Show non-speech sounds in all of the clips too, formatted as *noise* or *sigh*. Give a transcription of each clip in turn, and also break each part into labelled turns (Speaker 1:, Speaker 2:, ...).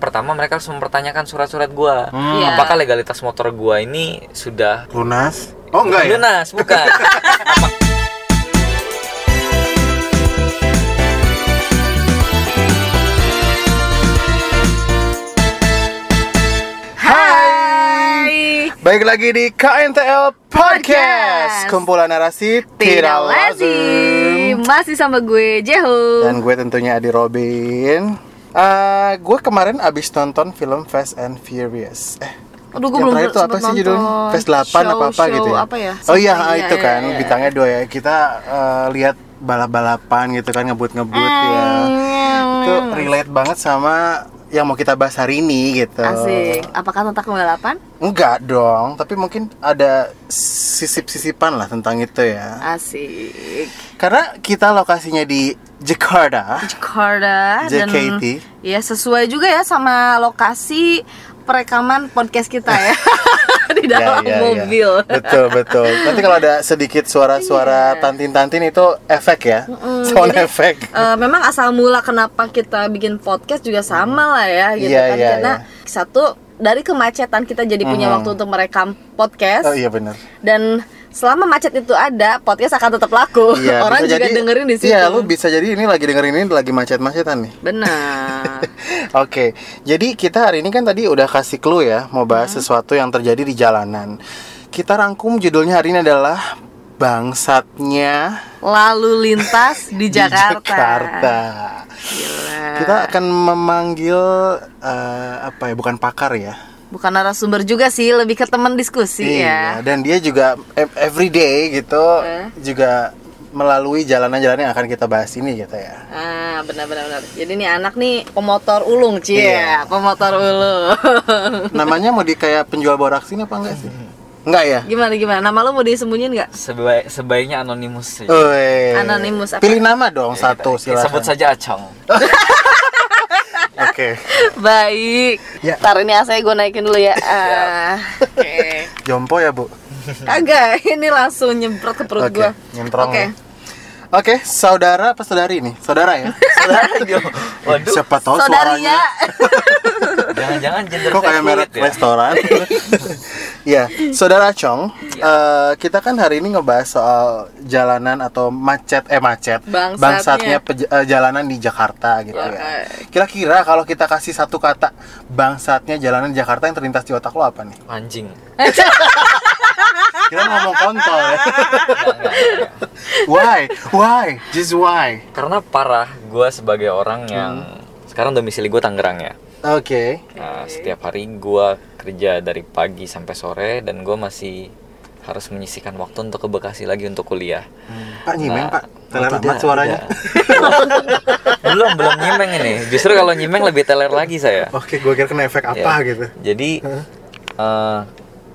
Speaker 1: pertama mereka harus mempertanyakan surat-surat gua.
Speaker 2: Hmm.
Speaker 3: Iya.
Speaker 1: Apakah legalitas motor gua ini sudah
Speaker 2: Lunas? Oh enggak ya?
Speaker 1: lunas?
Speaker 2: *laughs*
Speaker 1: Bukan.
Speaker 3: Hai.
Speaker 2: Baik lagi di KNTL Podcast,
Speaker 3: Podcast.
Speaker 2: kumpulan narasi
Speaker 3: Tidak lazim. Masih sama gue Jeho.
Speaker 2: Dan gue tentunya Adi Robin. Eh, gue kemarin abis nonton film Fast and Furious. Eh,
Speaker 3: Aduh gue
Speaker 2: yang
Speaker 3: belum
Speaker 2: terakhir itu apa
Speaker 3: sempet
Speaker 2: sih judulnya?
Speaker 3: nonton.
Speaker 2: Fast 8
Speaker 3: Show-
Speaker 2: apa apa
Speaker 3: show
Speaker 2: gitu ya?
Speaker 3: Apa ya?
Speaker 2: Oh iya,
Speaker 3: Iya,
Speaker 2: itu
Speaker 3: iya,
Speaker 2: kan
Speaker 3: iya.
Speaker 2: bintangnya dua ya. Kita eh, lihat balap-balapan gitu kan ngebut-ngebut ya.
Speaker 3: Hmm.
Speaker 2: Itu relate banget sama yang mau kita bahas hari ini gitu.
Speaker 3: Asik. Apakah tentang balapan?
Speaker 2: Enggak dong, tapi mungkin ada sisip-sisipan lah tentang itu ya.
Speaker 3: Asik.
Speaker 2: Karena kita lokasinya di Jakarta.
Speaker 3: Jakarta dan
Speaker 2: JKT.
Speaker 3: ya sesuai juga ya sama lokasi perekaman podcast kita *laughs* ya di *laughs*
Speaker 2: Ya,
Speaker 3: dalam
Speaker 2: ya, ya.
Speaker 3: mobil.
Speaker 2: Betul, betul. Nanti kalau ada sedikit suara-suara tantin-tantin itu efek ya. Sound
Speaker 3: Iya. jadi-
Speaker 2: effect.
Speaker 3: Eh, memang asal mula kenapa kita bikin podcast juga sama lah ya gitu
Speaker 2: Iya,
Speaker 3: kan
Speaker 2: iya,
Speaker 3: karena satu dari kemacetan kita jadi punya waktu untuk merekam podcast
Speaker 2: Oh iya
Speaker 3: *laughs*
Speaker 2: benar.
Speaker 3: dan selama macet itu ada podcast akan tetap laku
Speaker 2: Iya,
Speaker 3: *laughs* orang
Speaker 2: bisa
Speaker 3: juga
Speaker 2: jadi-
Speaker 3: dengerin di situ
Speaker 2: Iya, lu bisa jadi ini lagi dengerin ini lagi macet-macetan nih.
Speaker 3: benar
Speaker 2: *laughs* Oke, jadi kita hari ini kan tadi udah kasih clue ya, mau
Speaker 3: Hmm.
Speaker 2: bahas sesuatu yang terjadi di jalanan. Kita rangkum judulnya hari ini adalah Bangsatnya
Speaker 3: lalu lintas di
Speaker 2: *laughs*
Speaker 3: Jakarta,
Speaker 2: Di Jakarta.
Speaker 3: Gila.
Speaker 2: Kita akan memanggil eh, apa ya? Bukan pakar ya.
Speaker 3: bukan narasumber juga sih lebih ke teman diskusi
Speaker 2: Iya,
Speaker 3: ya
Speaker 2: Dan dia juga ev- everyday gitu
Speaker 3: Eh.
Speaker 2: juga melalui jalanan-jalanan yang akan kita bahas ini gitu ya.
Speaker 3: Ah, benar-benar. benar. Jadi nih anak nih pemotor ulung, Cie.
Speaker 2: Iya.
Speaker 3: Pemotor ulung. *laughs*
Speaker 2: Namanya mau di kayak penjual boraksi ini apa enggak sih?
Speaker 3: Hmm.
Speaker 2: Enggak ya?
Speaker 3: gimana gimana? Nama lu mau disembunyiin nggak? *laughs*
Speaker 1: Sebaik, sebaiknya anonimus sih.
Speaker 2: Oh, Weh.
Speaker 3: Anonymous apa?
Speaker 2: Pilih nama dong satu silakan.
Speaker 1: Iya. Eh, Sebut saja Acong.
Speaker 2: Oke.
Speaker 3: Baik.
Speaker 2: Ya.
Speaker 3: Taruh ini saya gue naikin dulu ya. Ah, Oke.
Speaker 2: *laughs* Jompo ya, Bu.
Speaker 3: Kagak, ini langsung nyemprot ke perut
Speaker 2: Oke,
Speaker 3: gua.
Speaker 2: nyemprong
Speaker 3: Oke.
Speaker 2: ya. Oke, saudara apa saudari nih? Saudara ya?
Speaker 1: *laughs* Saudara dia. Waduh,
Speaker 2: Siapa tahu
Speaker 3: Saudarinya.
Speaker 2: suaranya
Speaker 1: jangan-jangan gender
Speaker 2: kok kayak merek
Speaker 1: fluid ya? *laughs*
Speaker 2: restoran. ya, Saudara Chong,
Speaker 1: Iya.
Speaker 2: eh, kita kan hari ini ngebahas soal jalanan atau macet eh macet,
Speaker 3: Bangsatnya. Iya.
Speaker 2: peja- eh, jalanan di Jakarta gitu ya.
Speaker 3: Oke.
Speaker 2: Kira-kira kalau kita kasih satu kata bangsatnya jalanan di Jakarta yang terlintas di otak lo apa nih?
Speaker 1: Anjing.
Speaker 2: Kira ngomong kontol ya.
Speaker 1: Enggak, enggak, enggak.
Speaker 2: why? Why? Just why?
Speaker 1: Karena parah gua sebagai orang
Speaker 2: Hmm.
Speaker 1: yang sekarang domisili gua Tangerang ya.
Speaker 2: Oke.
Speaker 1: Nah, setiap hari gua kerja dari pagi sampai sore dan gua masih harus menyisihkan waktu untuk ke Bekasi lagi untuk
Speaker 2: *laughs*
Speaker 1: kuliah.
Speaker 2: Pak
Speaker 1: Nah,
Speaker 2: nyimeng, Pak. Teler
Speaker 1: oh,
Speaker 2: amat suaranya.
Speaker 1: tidak. belum belum nyimeng ini. Justru kalau nyimeng lebih teler lagi saya.
Speaker 2: *laughs* Oke, gue kira kena efek apa
Speaker 1: Ya.
Speaker 2: gitu.
Speaker 1: Jadi eh,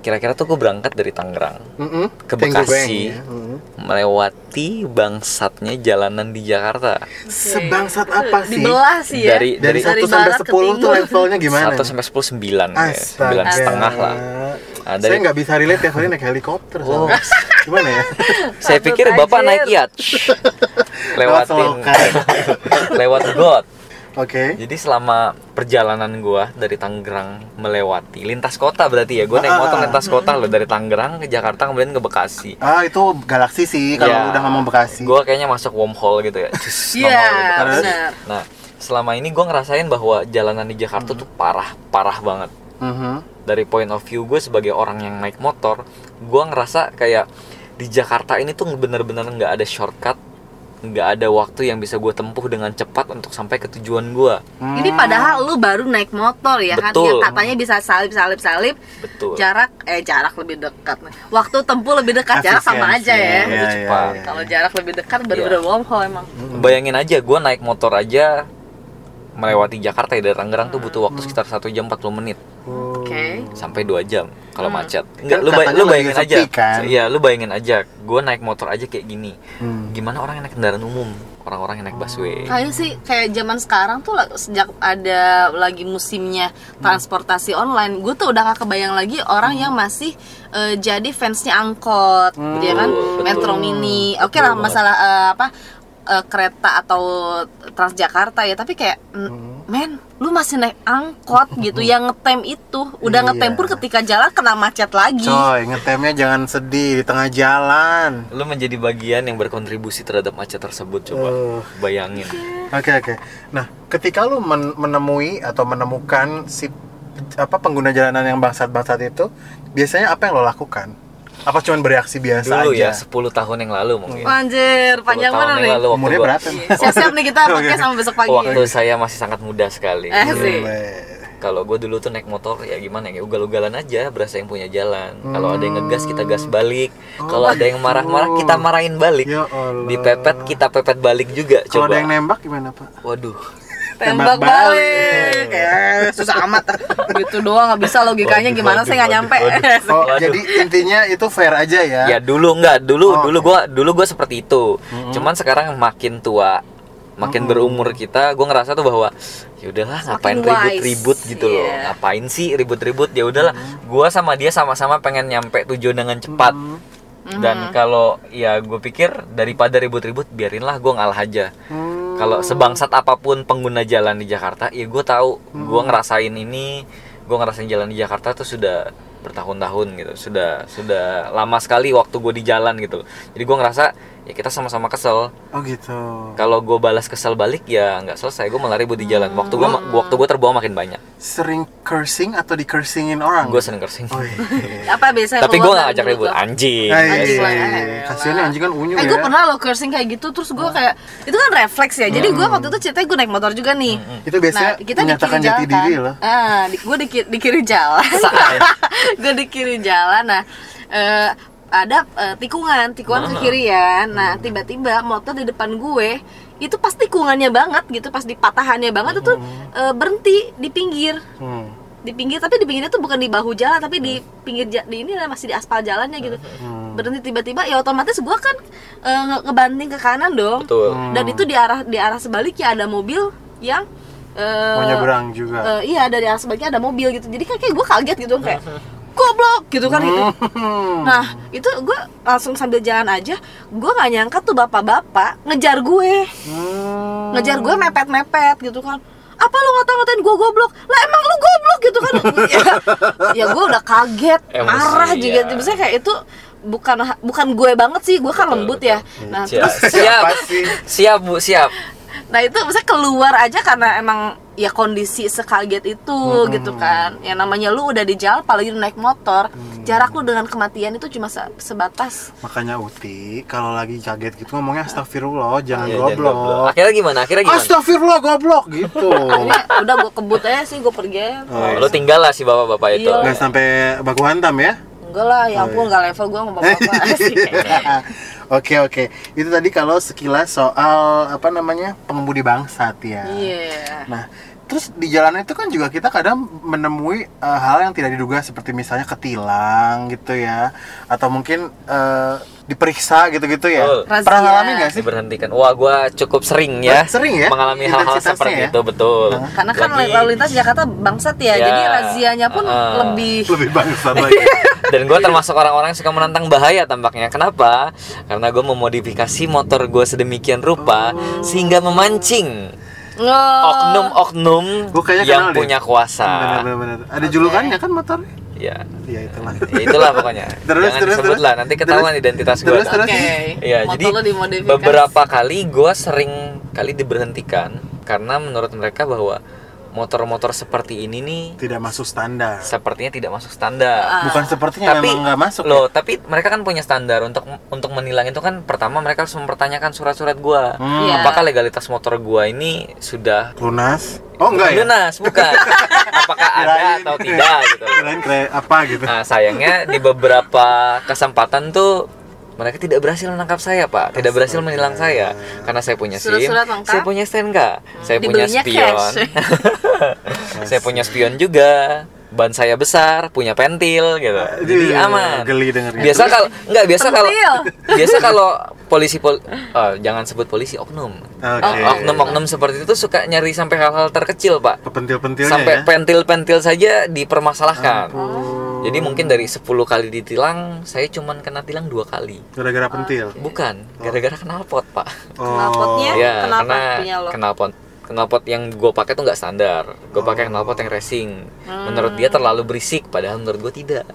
Speaker 1: kira-kira tuh gue berangkat dari Tangerang
Speaker 2: Mm-mm.
Speaker 1: ke
Speaker 2: Tenggo Beng,
Speaker 1: Bekasi
Speaker 2: ya. Mm.
Speaker 1: melewati bangsatnya jalanan di Jakarta.
Speaker 2: Sebangsat apa sih?
Speaker 3: Dibelah sih ya.
Speaker 1: Dari-
Speaker 2: dari,
Speaker 1: dari
Speaker 2: satu
Speaker 3: barat
Speaker 2: sampai
Speaker 3: ke
Speaker 2: sepuluh tuh
Speaker 3: timur.
Speaker 2: levelnya gimana?
Speaker 1: 1 sampai 10 9 ya. 9 setengah lah. Ah,
Speaker 2: Saya
Speaker 1: dari-
Speaker 2: nggak bisa relate tiap hari naik helikopter.
Speaker 1: Oh.
Speaker 2: soalnya. Gimana
Speaker 1: *laughs*
Speaker 2: ya?
Speaker 1: Saya
Speaker 3: Takut
Speaker 1: pikir Bapak
Speaker 3: anjir.
Speaker 1: naik yacht.
Speaker 2: *laughs*
Speaker 1: Lewatin
Speaker 2: selokan.
Speaker 1: *laughs* lewat got.
Speaker 2: Oke.
Speaker 1: Jadi selama perjalanan gua dari Tangerang melewati lintas kota berarti ya. Gua naik motor
Speaker 2: Ah.
Speaker 1: lintas kota loh dari Tangerang ke Jakarta kemudian ke Bekasi.
Speaker 2: Ah itu galaksi sih kalau
Speaker 1: Ya,
Speaker 2: udah ngomong Bekasi.
Speaker 1: Gua kayaknya masuk wormhole gitu ya.
Speaker 3: *laughs*
Speaker 1: Cus,
Speaker 3: Iya,
Speaker 1: nongol gitu.
Speaker 2: Terus?
Speaker 3: benar.
Speaker 1: Nah, selama ini gua ngerasain bahwa jalanan di Jakarta
Speaker 3: Hmm.
Speaker 1: tuh parah, parah banget.
Speaker 2: Mhm.
Speaker 1: Dari point of view gue sebagai orang yang naik motor, gua ngerasa kayak di Jakarta ini tuh bener-bener nggak ada shortcut, nggak ada waktu yang bisa gue tempuh dengan cepat untuk sampai ke tujuan gua.
Speaker 2: Hmm.
Speaker 3: Ini padahal lu baru naik motor ya kan
Speaker 1: Betul.
Speaker 3: yang katanya bisa salip salip salip
Speaker 1: Betul.
Speaker 3: jarak eh jarak lebih dekat waktu tempuh lebih dekat Kan jarak sama aja
Speaker 2: Efisiensi,
Speaker 3: ya,
Speaker 1: Lebih
Speaker 2: Iya, iya,
Speaker 1: cepat.
Speaker 2: iya.
Speaker 3: kalau jarak lebih dekat bener-bener wormhole emang
Speaker 1: Bayangin aja gua naik motor aja melewati Jakarta ya dari Tangerang tuh butuh
Speaker 3: Hmm.
Speaker 1: waktu sekitar 1 jam 40 menit.
Speaker 2: Oh.
Speaker 3: oke
Speaker 1: sampai dua jam kalau
Speaker 3: Hmm.
Speaker 1: macet. Enggak,
Speaker 2: Kan
Speaker 1: lu, bay-
Speaker 2: katanya
Speaker 1: lu
Speaker 2: lagi
Speaker 1: bayangin
Speaker 2: sepi
Speaker 1: aja.
Speaker 2: kan?
Speaker 1: Iya, lu bayangin aja. Gue naik motor aja kayak gini.
Speaker 2: Hmm.
Speaker 1: Gimana orang yang naik kendaraan umum? Orang-orang yang naik busway.
Speaker 3: Kayaknya sih kayak zaman sekarang tuh la- sejak ada lagi musimnya transportasi online, gue tuh udah gak kebayang lagi orang yang masih eh, jadi fansnya angkot, ya kan,
Speaker 1: Hmm, Betul, betul.
Speaker 3: metro mini. Oke lah
Speaker 1: Betul banget.
Speaker 3: masalah eh, apa eh, kereta atau Transjakarta ya tapi kayak mm,
Speaker 1: Hmm.
Speaker 3: men lu masih naik angkot gitu yang ngetem itu udah
Speaker 2: Iya.
Speaker 3: ngetem pun ketika jalan kena macet lagi
Speaker 2: Coy, ngetemnya jangan sedih di tengah jalan.
Speaker 1: Lu menjadi bagian yang berkontribusi terhadap macet tersebut coba
Speaker 2: Uh.
Speaker 1: bayangin.
Speaker 3: Iya.
Speaker 2: Oke oke. Nah, ketika lu men- menemui atau menemukan si apa pengguna jalanan yang bangsat-bangsat itu, biasanya apa yang lo lakukan? Apa cuman bereaksi biasa
Speaker 1: Dulu ya
Speaker 2: aja?
Speaker 1: 10 tahun yang lalu mungkin.
Speaker 3: Anjir,
Speaker 1: 10
Speaker 3: panjang
Speaker 1: tahun
Speaker 3: mana
Speaker 1: yang
Speaker 3: nih?
Speaker 1: lalu waktu
Speaker 2: Umurnya
Speaker 1: gua-
Speaker 2: berapa? emang?
Speaker 3: Siap-siap nih
Speaker 1: *laughs*
Speaker 3: kita pakai sama besok pagi.
Speaker 1: Waktu saya masih sangat muda sekali.
Speaker 3: Eh, sih.
Speaker 2: Weh.
Speaker 1: Kalau gue dulu tuh naik motor ya gimana ya ugal-ugalan aja berasa yang punya jalan. Kalau ada yang ngegas kita gas balik. Kalau ada yang marah-marah kita marahin balik.
Speaker 2: Oh Ya Allah.
Speaker 1: Dipepet kita pepet balik juga
Speaker 2: Kalau
Speaker 1: coba.
Speaker 2: ada yang nembak gimana pak?
Speaker 1: Waduh.
Speaker 3: Tembak
Speaker 2: Tembak
Speaker 3: balik. Eh, susah amat. gitu doang nggak bisa logikanya
Speaker 1: Waduh,
Speaker 3: gimana saya nggak
Speaker 1: waduh,
Speaker 3: nyampe. *laughs*
Speaker 1: waduh.
Speaker 2: Oh,
Speaker 1: Waduh.
Speaker 2: jadi intinya itu fair aja ya?
Speaker 1: Ya dulu enggak, dulu
Speaker 2: Oh,
Speaker 1: dulu gua dulu gua seperti itu. Cuman sekarang makin tua, makin berumur kita, gua ngerasa tuh bahwa ya udahlah ngapain
Speaker 3: wise,
Speaker 1: ribut-ribut gitu loh.
Speaker 3: iya.
Speaker 1: Ngapain sih ribut-ribut? Ya udahlah, gua sama dia sama-sama pengen nyampe tujuan dengan cepat.
Speaker 2: Hmm.
Speaker 3: Hmm.
Speaker 1: Dan kalau ya gue pikir daripada ribut-ribut biarinlah gua ngalah aja.
Speaker 2: Hmm.
Speaker 1: Kalau sebangsat apapun pengguna jalan di Jakarta, ya gue tahu, gue ngerasain ini, gue ngerasain jalan di Jakarta tuh sudah bertahun-tahun gitu, sudah sudah lama sekali waktu gue di jalan gitu. Jadi gue ngerasa ya kita sama-sama kesel.
Speaker 2: Oh gitu.
Speaker 1: Kalau gue balas kesel balik ya nggak selesai, gue malah ribut di jalan. Waktu gue waktu gue terbawa makin banyak.
Speaker 2: Sering cursing atau dikursingin orang?
Speaker 1: Gue sering cursing.
Speaker 2: Oh, iya.
Speaker 3: Apa biasanya
Speaker 1: Tapi gue
Speaker 3: keluar
Speaker 1: nggak
Speaker 3: dari
Speaker 1: ajak
Speaker 3: mulut
Speaker 1: ribut
Speaker 3: lo?
Speaker 1: anjing.
Speaker 2: Ay,
Speaker 3: Anjing lah,
Speaker 2: iya.
Speaker 3: elah.
Speaker 2: Kasiannya anjingkan unyu
Speaker 3: Eh
Speaker 2: ya.
Speaker 3: gue pernah lo cursing kayak gitu terus gue kayak itu kan refleks ya. Jadi gue waktu itu ceritanya gue naik motor juga nih.
Speaker 2: Itu
Speaker 3: Nah,
Speaker 2: biasanya menyatakan jati diri loh.
Speaker 3: Ah, di, gue di, ki- di kiri jalan. *laughs* gue di kiri jalan. Nah, eh, ada eh, tikungan, tikungan ke kiri ya. Nah, tiba-tiba motor di depan gue itu pas tikungannya banget gitu, pas di patahannya banget itu eh, berhenti di pinggir
Speaker 2: Hmm.
Speaker 3: di pinggir tapi di pinggirnya tuh bukan di bahu jalan tapi di pinggir ja- di ini lah, masih di aspal jalannya gitu
Speaker 2: Hmm.
Speaker 3: berhenti tiba-tiba ya otomatis gua kan eh, nge- ngebanting ke kanan dong
Speaker 1: Betul.
Speaker 2: Hmm.
Speaker 3: dan itu di arah di arah sebaliknya ada mobil yang eh,
Speaker 2: Mau nyebrang juga.
Speaker 3: eh, iya dari arah sebaliknya ada mobil gitu jadi kan kayak gue kaget gitu kayak goblok gitu
Speaker 2: Hmm.
Speaker 3: kan gitu nah itu gue langsung sambil jalan aja gue nggak nyangka tuh bapak-bapak ngejar gue
Speaker 2: Hmm.
Speaker 3: ngejar gue mepet-mepet gitu kan apa lu ngata-ngatain gue goblok lah emang lu goblok gitu kan ya, ya gue udah kaget
Speaker 1: Emosi,
Speaker 3: marah juga
Speaker 1: ya.
Speaker 3: Maksudnya kayak itu bukan bukan gue banget sih gue kan lembut ya nah
Speaker 1: Siap,
Speaker 3: terus
Speaker 1: siap,
Speaker 2: Apa sih?
Speaker 1: siap bu, siap.
Speaker 3: nah itu maksudnya keluar aja karena emang ya kondisi sekaget itu gitu kan ya namanya lu udah di jalan apalagi lu naik motor
Speaker 1: Mm.
Speaker 3: jarak lu dengan kematian itu cuma se- sebatas
Speaker 2: Makanya Uti, kalau lagi kaget gitu
Speaker 3: Nah.
Speaker 2: ngomongnya astagfirullah, jangan
Speaker 1: Iya, jangan goblok.
Speaker 2: goblok.
Speaker 1: Akhirnya gimana? Akhirnya gimana?
Speaker 2: Astagfirullah goblok gitu.
Speaker 3: *laughs* akhirnya udah gue kebut aja sih gue pergi aja.
Speaker 1: Oh, lu tinggal lah si bapak-bapak itu.
Speaker 3: Iya.
Speaker 2: Nggak sampai baku hantam ya?
Speaker 3: enggak lah ya
Speaker 1: Oh, iya.
Speaker 3: ampun enggak level gue sama bapak-bapak sih
Speaker 1: *laughs*
Speaker 2: *laughs* Oke oke, itu tadi kalau sekilas soal apa namanya pengemudi bangsat ya.
Speaker 3: Iya.
Speaker 2: Nah, terus di jalan itu kan juga kita kadang menemui eh, hal yang tidak diduga seperti misalnya ketilang gitu ya, atau mungkin eh, diperiksa gitu-gitu ya.
Speaker 1: Betul.
Speaker 2: Pernah
Speaker 3: Razia.
Speaker 2: ngalamin nggak sih?
Speaker 1: diberhentikan. Wah, gua cukup sering ya.
Speaker 2: Sering ya?
Speaker 1: Mengalami hal-hal
Speaker 2: Intensitasnya
Speaker 1: seperti
Speaker 2: ya?
Speaker 1: itu betul.
Speaker 3: Karena kan
Speaker 1: Lagi-
Speaker 3: lalu lintas Jakarta bangsat ya,
Speaker 1: Ya.
Speaker 3: jadi razianya pun
Speaker 1: Heeh.
Speaker 3: lebih
Speaker 2: Lebih bangsat *laughs* lagi.
Speaker 1: *laughs* dan gua termasuk orang-orang yang suka menantang bahaya tampaknya. Kenapa? Karena gua memodifikasi motor gua sedemikian rupa
Speaker 2: Oh.
Speaker 1: sehingga memancing oknum-oknum
Speaker 2: Gua kayaknya
Speaker 1: yang
Speaker 2: kenal deh.
Speaker 1: punya kuasa.
Speaker 2: Benar-benar. Ada julukannya kan motor?
Speaker 1: Ya.
Speaker 2: Ya itulah.
Speaker 1: Ya, itulah pokoknya.
Speaker 2: *laughs* Terus,
Speaker 1: Jangan
Speaker 2: terus,
Speaker 1: disebut
Speaker 2: terus.
Speaker 1: lah, nanti ketahuan
Speaker 2: Terus,
Speaker 1: identitas gua.
Speaker 2: terus,
Speaker 1: ada.
Speaker 2: terus.
Speaker 3: Oke.
Speaker 1: Iya,
Speaker 3: Motor
Speaker 1: jadi
Speaker 3: lo dimodifikasi. Iya,
Speaker 1: beberapa kali gue sering kali diberhentikan karena menurut mereka bahwa motor-motor seperti ini nih
Speaker 2: Tidak masuk standar.
Speaker 1: sepertinya tidak masuk standar.
Speaker 3: Ah,
Speaker 2: Bukan sepertinya Ah, memang nggak masuk. ya?
Speaker 1: loh, tapi mereka kan punya standar untuk untuk menilang itu kan pertama mereka harus mempertanyakan surat-surat gua.
Speaker 2: Hmm.
Speaker 3: Iya.
Speaker 1: Apakah legalitas motor gua ini sudah
Speaker 2: Lunas? Oh enggak ya?
Speaker 1: lunas
Speaker 2: *laughs*
Speaker 1: bukan? Apakah ada
Speaker 2: Kirain.
Speaker 1: atau tidak gitu.
Speaker 2: Kirain kayak apa gitu.
Speaker 1: Nah, sayangnya di beberapa kesempatan tuh mereka tidak berhasil menangkap saya, Pak. Tidak berhasil menilang saya karena saya punya SIM,
Speaker 3: Surat-surat lengkap?
Speaker 1: saya punya STNK, saya punya
Speaker 3: dibelinya *laughs*
Speaker 1: spion. *laughs*
Speaker 3: cash.
Speaker 1: saya punya spion juga. Ban saya besar, punya pentil gitu. Jadi
Speaker 2: Aduh,
Speaker 1: aman.
Speaker 2: geli dengernya.
Speaker 1: Biasa kalau nggak biasa kalau
Speaker 3: Pentil.
Speaker 1: biasa kalau polisi pol, eh, jangan sebut polisi oknum.
Speaker 2: Oke.
Speaker 1: Oknum-oknum seperti itu suka nyari sampai hal-hal terkecil, Pak
Speaker 2: Kepentil-pentilnya
Speaker 1: sampai
Speaker 2: ya.
Speaker 1: pentil-pentil saja dipermasalahkan. Jadi mungkin dari 10 kali ditilang, saya cuman kena tilang dua kali.
Speaker 2: gara-gara pentil.
Speaker 1: Bukan, gara-gara knalpot, Pak.
Speaker 3: Knalpotnya?
Speaker 2: Oh.
Speaker 3: Ya,
Speaker 1: Iya,
Speaker 3: kenapa
Speaker 1: karena
Speaker 3: punya lo?
Speaker 1: knalpot knalpot yang gue pakai tuh nggak standar. Gue
Speaker 2: Oh.
Speaker 1: pakai knalpot yang racing.
Speaker 3: Hmm.
Speaker 1: Menurut dia terlalu berisik, padal menurut gue tidak.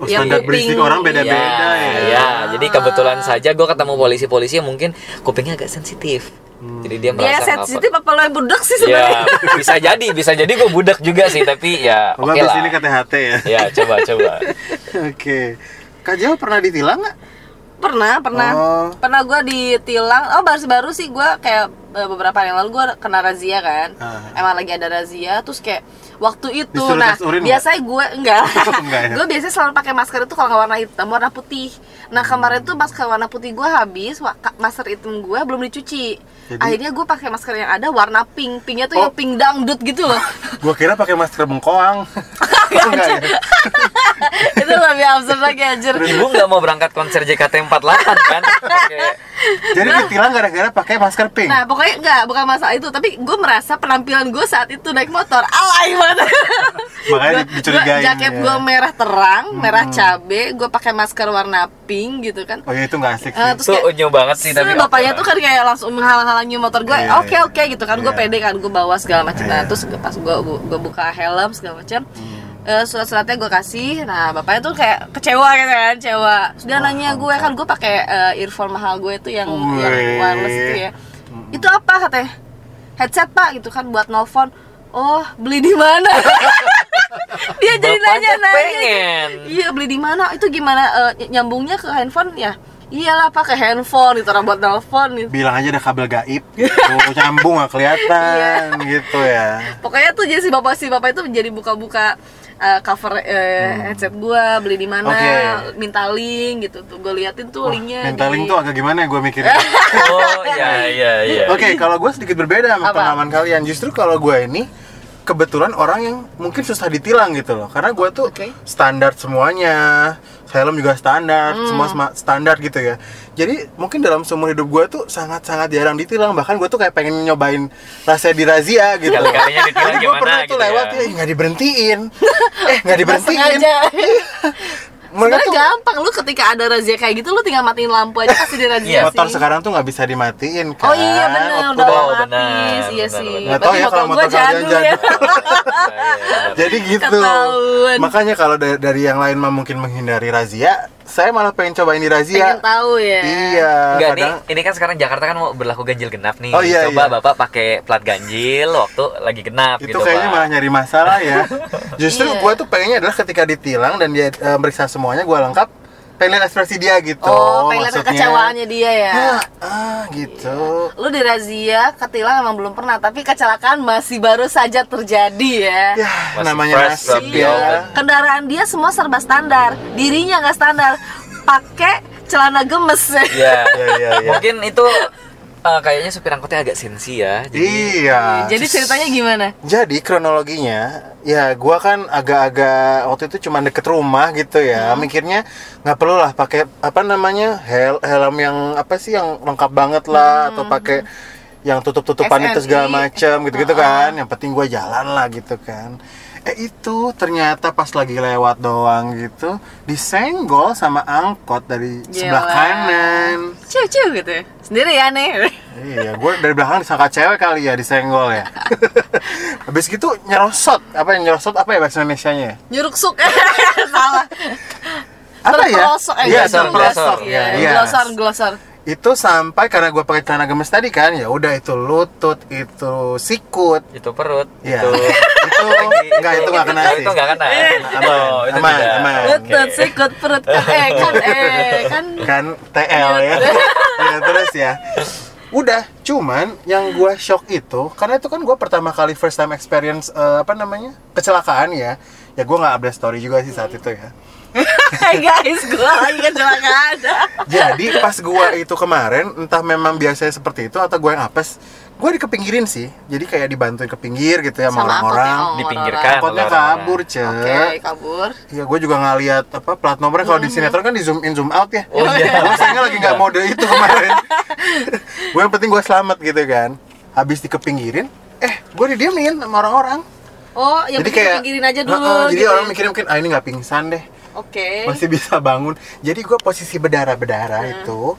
Speaker 2: Oh,
Speaker 3: Yang
Speaker 2: standar
Speaker 3: kuping- Iya,
Speaker 2: berisik orang beda-beda ya.
Speaker 1: ya. jadi kebetulan saja gue ketemu polisi-polisi yang mungkin kupingnya agak sensitif.
Speaker 2: Hmm.
Speaker 1: Jadi dia
Speaker 3: Dia
Speaker 1: merasa
Speaker 3: sensitif apa lo yang budak sih
Speaker 1: Ya,
Speaker 3: sebenarnya?
Speaker 1: bisa jadi, bisa jadi gue budak juga sih, tapi ya
Speaker 2: Kalau
Speaker 1: oke
Speaker 2: habis
Speaker 1: lah.
Speaker 2: Oh, ini ke THT
Speaker 3: Iya.
Speaker 2: ya.
Speaker 1: Ya, coba coba.
Speaker 2: *laughs* Oke. Kak Jel pernah ditilang nggak?
Speaker 3: Pernah, pernah.
Speaker 2: Oh.
Speaker 3: Pernah gue ditilang. Oh, baru-baru sih gue kayak eh, beberapa hari yang lalu gue kena razia kan.
Speaker 2: Ah.
Speaker 3: Emang lagi ada razia, terus kayak waktu itu
Speaker 2: Disuruh
Speaker 3: nah
Speaker 2: tes urin nggak?
Speaker 3: biasanya gue enggak,
Speaker 2: *laughs* Enggak ya?
Speaker 3: gue biasanya selalu pakai masker itu kalau nggak warna hitam warna putih nah kemarin tuh masker warna putih gue habis wa- ka- masker hitam gue belum dicuci
Speaker 2: Jadi-
Speaker 3: akhirnya gue pakai masker yang ada warna pink pinknya tuh
Speaker 2: Oh.
Speaker 3: yang pink dangdut
Speaker 2: *laughs*
Speaker 3: gitu loh
Speaker 2: Gua kira pakai masker
Speaker 3: *laughs*
Speaker 2: bengkoang. Oh, enggak ya?
Speaker 3: itu lebih absurd lagi anjir
Speaker 1: Ibu nggak mau berangkat konser JKT48 kan? Pakai-
Speaker 2: Jadi ditilang gara-gara pakai masker pink.
Speaker 3: Nah, pokoknya enggak, bukan masalah itu, tapi gue merasa penampilan gue saat itu naik motor alay banget.
Speaker 2: Makanya
Speaker 3: Gua-
Speaker 2: dicurigain.
Speaker 3: gua- Jaket
Speaker 2: ya. Hmm.
Speaker 3: gue merah terang, merah cabe, gue pakai masker warna pink gitu kan.
Speaker 2: Oh ya itu nggak asik
Speaker 3: Eh,
Speaker 2: sih.
Speaker 3: terus
Speaker 1: Itu
Speaker 3: kayak-
Speaker 1: unyu banget sih tapi.
Speaker 3: Terus bapaknya tuh kan kayak langsung menghalang-halangi motor gue.
Speaker 2: Iya,
Speaker 3: oke
Speaker 2: iya.
Speaker 3: oke gitu kan, gue
Speaker 2: Iya.
Speaker 3: pede kan, gue bawa segala macam.
Speaker 2: Iya.
Speaker 3: Nah,
Speaker 2: Hmm.
Speaker 3: terus gua- pas gue gue buka helm segala macam. eh, surat-suratnya gue kasih, nah bapaknya tuh kayak kecewa gitu kan, kecewa. Terus dia nanya gue kan gue pakai eh, earphone mahal gue itu yang, yang
Speaker 2: Wih.
Speaker 3: wireless itu ya. Itu apa katanya? Headset pak gitu kan buat nelfon. Oh beli di mana? *laughs* dia jadi
Speaker 1: Bapaknya
Speaker 3: nanya nanya.
Speaker 1: pengen.
Speaker 3: Iya beli di mana? Itu gimana eh, nyambungnya ke handphone ya? Iyalah pakai handphone itu orang buat nelfon gitu.
Speaker 2: Bilang aja ada kabel
Speaker 3: *laughs*
Speaker 2: gaib, oh, nyambung nggak kelihatan
Speaker 3: Iya.
Speaker 2: gitu ya.
Speaker 3: Pokoknya tuh jadi si bapak si bapak itu jadi buka-buka eh, cover eh, headset gua beli di mana,
Speaker 2: Hmm. Oke.
Speaker 3: minta link gitu tuh. Gue liatin tuh linknya.
Speaker 2: Minta
Speaker 3: di-
Speaker 2: link tuh agak gimana ya gue
Speaker 3: *laughs*
Speaker 2: mikirin.
Speaker 1: Oh, iya iya iya.
Speaker 2: Oke, kalau gue sedikit berbeda sama
Speaker 3: Apa?
Speaker 2: pengalaman kalian. Justru kalau gue ini kebetulan orang yang mungkin susah ditilang gitu loh. Karena gue tuh
Speaker 3: Oke.
Speaker 2: standar semuanya, helm juga
Speaker 3: Hmm.
Speaker 2: standar, semua sema- standar gitu ya. Jadi mungkin dalam seumur hidup gue tuh sangat-sangat jarang ditilang. Bahkan gue tuh kayak pengen nyobain rasanya dirazia gitu.
Speaker 1: Kali-kalinya ditilang
Speaker 2: Jadi gue
Speaker 1: gimana
Speaker 2: pernah tuh
Speaker 1: gitu
Speaker 2: lewat
Speaker 1: ya.
Speaker 2: ya, "Ih, nggak
Speaker 3: *laughs*
Speaker 2: diberhentiin, eh nggak diberhentiin.
Speaker 3: sengaja. *laughs*
Speaker 2: Mereka Iya,
Speaker 3: Sebenarnya
Speaker 2: tuh
Speaker 3: gampang lu ketika ada razia kayak gitu lu tinggal matiin lampu aja
Speaker 2: *laughs*
Speaker 3: pasti di razia
Speaker 1: Iya.
Speaker 3: sih.
Speaker 2: motor sekarang tuh nggak bisa dimatiin kan.
Speaker 3: Oh iya benar
Speaker 2: Waktu
Speaker 3: udah
Speaker 2: gua-
Speaker 1: Oh,
Speaker 3: otomatis.
Speaker 1: benar,
Speaker 3: Iya
Speaker 1: benar,
Speaker 3: sih.
Speaker 1: benar.
Speaker 2: Nggak tahu
Speaker 3: Berarti
Speaker 2: ya kalau
Speaker 3: motor
Speaker 2: motor
Speaker 3: gua
Speaker 2: kalian
Speaker 3: jadul ya.
Speaker 1: iya.
Speaker 3: *laughs*
Speaker 2: Jadi gitu.
Speaker 3: Ketahuan.
Speaker 2: Makanya kalau dari, dari yang lain mah mungkin menghindari razia, saya malah pengen cobain di razia.
Speaker 3: *laughs* Pengen tahu ya.
Speaker 2: Iya.
Speaker 1: Enggak nih,
Speaker 2: kadang
Speaker 1: ini kan sekarang Jakarta kan mau berlaku ganjil genap nih.
Speaker 2: Oh, iya,
Speaker 1: Coba
Speaker 2: iya.
Speaker 1: Bapak pakai plat ganjil waktu lagi genap
Speaker 2: itu
Speaker 1: gitu,
Speaker 2: kayaknya
Speaker 1: Pak.
Speaker 2: malah nyari masalah
Speaker 3: *laughs*
Speaker 2: ya. Justru
Speaker 3: Iya.
Speaker 2: gue tuh pengennya adalah ketika ditilang dan dia eh, meriksa semuanya gue lengkap, pengen lihat ekspresi dia gitu.
Speaker 3: Oh, pengen lihat
Speaker 2: maksudnya.
Speaker 3: kekecewaannya dia ya.
Speaker 2: Ah, ah, gitu.
Speaker 3: Lu dirazia, ketilang emang belum pernah, tapi kecelakaan masih baru saja terjadi ya.
Speaker 2: Ya,
Speaker 1: Masih
Speaker 2: namanya
Speaker 1: fresh
Speaker 2: nasib
Speaker 1: from the
Speaker 2: ya.
Speaker 1: oven.
Speaker 3: Kendaraan dia semua serba standar, dirinya nggak standar. Pakai celana gemes.
Speaker 1: Iya.
Speaker 2: *laughs* Iya, iya, iya.
Speaker 1: Mungkin itu eh, kayaknya supir angkotnya agak sensi ya. Jadi
Speaker 2: Iya.
Speaker 3: *laughs* Jadi ceritanya gimana?
Speaker 2: Jadi kronologinya, ya gua kan agak-agak waktu itu cuma deket rumah gitu ya. Mikirnya nggak perlu lah pakai apa namanya hel helm yang apa sih yang lengkap banget lah atau pakai yang tutup-tutupan itu
Speaker 3: SNI.
Speaker 2: segala macam gitu-gitu kan. Yang penting gua jalan lah gitu kan. Eh itu ternyata pas lagi lewat doang gitu disenggol sama angkot dari sebelah
Speaker 3: Gila.
Speaker 2: kanan.
Speaker 3: Ciu ciu gitu. ya. Sendiri ya *laughs* nih.
Speaker 2: Iya, gue dari belakang disangka cewek kali ya, disenggol ya. Habis gitu nyerosot, apa yang nyerosot apa ya bahasa Indonesianya ya?
Speaker 3: Nyuruk suk. *laughs* Salah.
Speaker 2: Apa ya?
Speaker 3: Terperosok, eh,
Speaker 2: Iya,
Speaker 3: gitu.
Speaker 1: terperosok,
Speaker 3: Iya,
Speaker 2: iya.
Speaker 3: Glosor, glosor.
Speaker 2: Itu sampai karena gue pakai celana gemes tadi kan, ya udah itu lutut, itu sikut,
Speaker 1: itu perut,
Speaker 2: Iya.
Speaker 1: itu
Speaker 2: itu enggak itu enggak kena sih.
Speaker 1: Itu enggak kena.
Speaker 2: Aman,
Speaker 1: Oh, itu
Speaker 2: aman,
Speaker 1: tidak.
Speaker 2: aman.
Speaker 1: Oke.
Speaker 3: Lutut, sikut, perut, kan, eh, kan, eh, kan. *laughs*
Speaker 2: Kan TL ya.
Speaker 3: Iya.
Speaker 2: ya terus ya. Udah, cuman yang gue shock itu karena itu kan gue pertama kali first time experience eh, apa namanya? kecelakaan ya. Ya gue nggak update story juga sih saat itu ya.
Speaker 3: Hai guys, gua lagi kan kecelakaan.
Speaker 2: Jadi pas gua itu kemarin entah memang biasanya seperti itu atau gua yang apes, gua dikepinggirin sih. Jadi kayak dibantuin ke pinggir gitu ya sama
Speaker 3: Sama angkotnya,
Speaker 2: orang-orang.
Speaker 3: oh.
Speaker 1: dipinggirkan.
Speaker 2: Angkotnya
Speaker 1: oleh orang-orang.
Speaker 2: kabur, Ce.
Speaker 3: Oke, kabur.
Speaker 2: Ya gua juga ngeliat apa plat nomornya kalau di
Speaker 3: Iya.
Speaker 2: sinetron kan di zoom in zoom out ya.
Speaker 1: Oh, iya.
Speaker 2: *laughs* Gua sayangnya lagi nggak mode itu
Speaker 1: *laughs*
Speaker 2: kemarin. gua yang penting gua selamat gitu kan. Habis dikepinggirin, eh gua didiemin sama orang-orang.
Speaker 3: Oh, yang
Speaker 2: jadi
Speaker 3: penting
Speaker 2: kayak
Speaker 3: pinggirin aja dulu.
Speaker 2: Heeh, jadi
Speaker 3: gitu
Speaker 2: orang
Speaker 3: ya. Eh.
Speaker 2: mikirnya mungkin ah ini nggak pingsan deh
Speaker 3: Oke.
Speaker 2: masih bisa bangun jadi gue posisi berdarah berdarah itu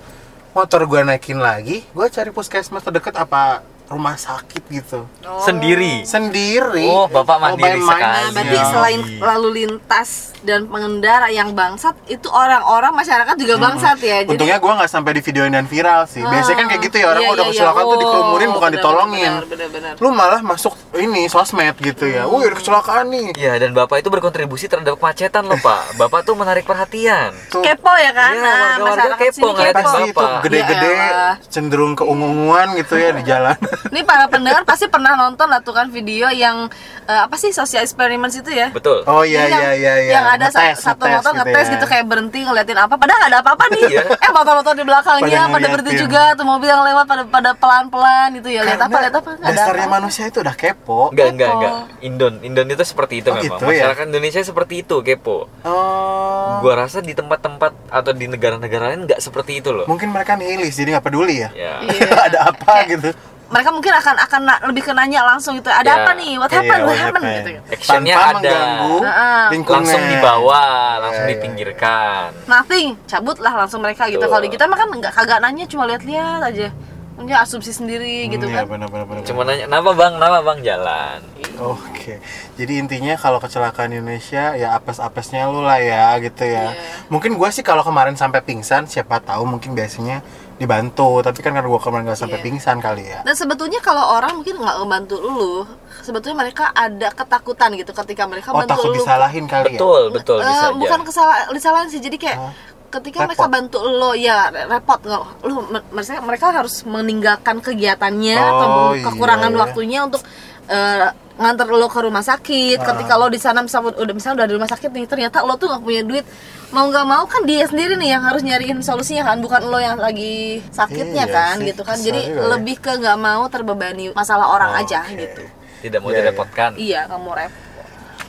Speaker 2: motor gue naikin lagi gue cari puskesmas terdekat apa rumah sakit gitu
Speaker 3: Oh.
Speaker 1: sendiri.
Speaker 2: sendiri
Speaker 1: Oh, Bapak mandiri
Speaker 2: Mobile mind.
Speaker 1: sekali.
Speaker 3: Nah, berarti
Speaker 1: Iya.
Speaker 3: selain lalu lintas dan pengendara yang bangsat, itu orang-orang masyarakat juga bangsat ya. Jadi Ah,
Speaker 2: Untungnya gue nggak sampai di videoin dan viral sih. Biasanya kan kayak gitu ya orang
Speaker 3: Iya,
Speaker 2: udah
Speaker 3: iya, iya.
Speaker 2: kecelakaan tuh
Speaker 3: Oh,
Speaker 2: dikerumunin bukan
Speaker 3: benar,
Speaker 2: ditolongin.
Speaker 3: benar, Hmm. benar, benar.
Speaker 2: Lu malah masuk ini sosmed gitu ya. Wih ada kecelakaan nih.
Speaker 1: Iya, dan Bapak itu berkontribusi terhadap kemacetan loh, Pak. Bapak tuh menarik perhatian.
Speaker 2: Tuh
Speaker 3: kepo ya kan?
Speaker 1: Iya,
Speaker 3: Nah,
Speaker 1: warga-warga
Speaker 3: masyarakat
Speaker 1: kepo,
Speaker 3: sini
Speaker 1: ngeliat
Speaker 3: kepo.
Speaker 1: Bapak.
Speaker 2: pasti itu gede-gede
Speaker 3: Ya elah.
Speaker 2: cenderung keungunguan gitu ya di jalan. *laughs*
Speaker 3: Ini para pendengar pasti pernah nonton lah tuh kan video yang eh, apa sih sosial eksperimen itu ya?
Speaker 1: Betul.
Speaker 2: Oh iya
Speaker 3: Jadi yang,
Speaker 2: iya iya iya.
Speaker 3: yang ada sa-
Speaker 2: Ngetes,
Speaker 3: satu
Speaker 2: ngetes
Speaker 3: motor ngetes gitu,
Speaker 2: ya.
Speaker 3: kayak berhenti ngeliatin apa padahal nggak ada apa-apa nih
Speaker 1: Iya.
Speaker 3: eh motor-motor di belakangnya
Speaker 2: Pada
Speaker 3: pada, berhenti
Speaker 2: ngeliatin.
Speaker 3: juga tuh mobil yang lewat pada pada pelan-pelan gitu ya lihat
Speaker 2: Karena
Speaker 3: apa lihat apa nggak ada
Speaker 2: dasarnya
Speaker 3: apa.
Speaker 2: manusia itu udah kepo. Eh,
Speaker 1: Enggak, enggak,
Speaker 3: Kepo.
Speaker 1: enggak. Indon, Indon itu seperti itu
Speaker 2: Oh,
Speaker 1: memang.
Speaker 2: gitu ya?
Speaker 1: Masyarakat Indonesia seperti itu, kepo.
Speaker 2: Oh.
Speaker 1: Gua rasa di tempat-tempat atau di negara-negara lain nggak seperti itu loh.
Speaker 2: Mungkin mereka nihilis jadi nggak peduli ya.
Speaker 1: Ya.
Speaker 3: Iya.
Speaker 2: *laughs* ada apa
Speaker 3: Kayak-
Speaker 2: gitu.
Speaker 3: mereka mungkin akan akan na- lebih ke nanya langsung gitu ada
Speaker 1: Iya.
Speaker 3: apa nih what
Speaker 2: Iya,
Speaker 3: happened what
Speaker 2: what
Speaker 3: happened
Speaker 2: happened?
Speaker 3: gitu ya.
Speaker 1: Actionnya
Speaker 2: Tanpa
Speaker 1: ada.
Speaker 2: mengganggu
Speaker 3: Heeh.
Speaker 2: lingkungan.
Speaker 1: Langsung dibawa, langsung
Speaker 2: Iya, iya,
Speaker 1: dipinggirkan.
Speaker 3: nothing cabut lah langsung mereka gitu
Speaker 1: Betul.
Speaker 3: kalau di kita mah kan nggak kagak nanya cuma lihat-lihat aja punya asumsi sendiri
Speaker 2: Hmm,
Speaker 3: gitu kan
Speaker 2: Iya benar benar benar.
Speaker 1: Cuma nanya, "Kenapa, Bang? Kenapa, Bang? Jalan."
Speaker 3: Iya,
Speaker 2: Oke, jadi intinya kalau kecelakaan Indonesia ya apes-apesnya lu lah ya gitu ya.
Speaker 3: Iya.
Speaker 2: Mungkin gua sih kalau kemarin sampai pingsan siapa tahu mungkin biasanya dibantu, tapi kan karena gua kemarin gak sampai
Speaker 3: Iya.
Speaker 2: pingsan kali ya.
Speaker 3: Dan sebetulnya kalau orang mungkin nggak ngebantu lu, sebetulnya mereka ada ketakutan gitu ketika mereka
Speaker 2: Oh
Speaker 3: bantu
Speaker 2: takut
Speaker 3: lu.
Speaker 2: disalahin kali ya.
Speaker 1: Betul, betul
Speaker 3: Eh,
Speaker 1: bisa aja.
Speaker 3: bukan kesalahan, kesalahan sih. Jadi kayak
Speaker 2: Hah?
Speaker 3: ketika
Speaker 2: Repot.
Speaker 3: mereka bantu lo ya re- repot nggak lu mer- mereka mereka harus meninggalkan kegiatannya
Speaker 2: Oh,
Speaker 3: atau
Speaker 2: iya,
Speaker 3: kekurangan
Speaker 2: iya.
Speaker 3: waktunya untuk eh, nganter lo ke rumah sakit ketika lo di sana misalnya udah misalnya udah di rumah sakit nih ternyata lo tuh nggak punya duit mau nggak mau kan dia sendiri nih yang harus nyariin solusinya kan bukan lo yang lagi sakitnya
Speaker 2: Iya
Speaker 3: kan
Speaker 2: sih,
Speaker 3: gitu kan
Speaker 2: kesel
Speaker 3: jadi
Speaker 2: juga ya. Oh,
Speaker 3: lebih ke nggak mau terbebani masalah orang
Speaker 2: Oke.
Speaker 3: aja gitu
Speaker 1: Tidak mau
Speaker 2: Iya, iya.
Speaker 1: direpotkan.
Speaker 3: iya kamu repot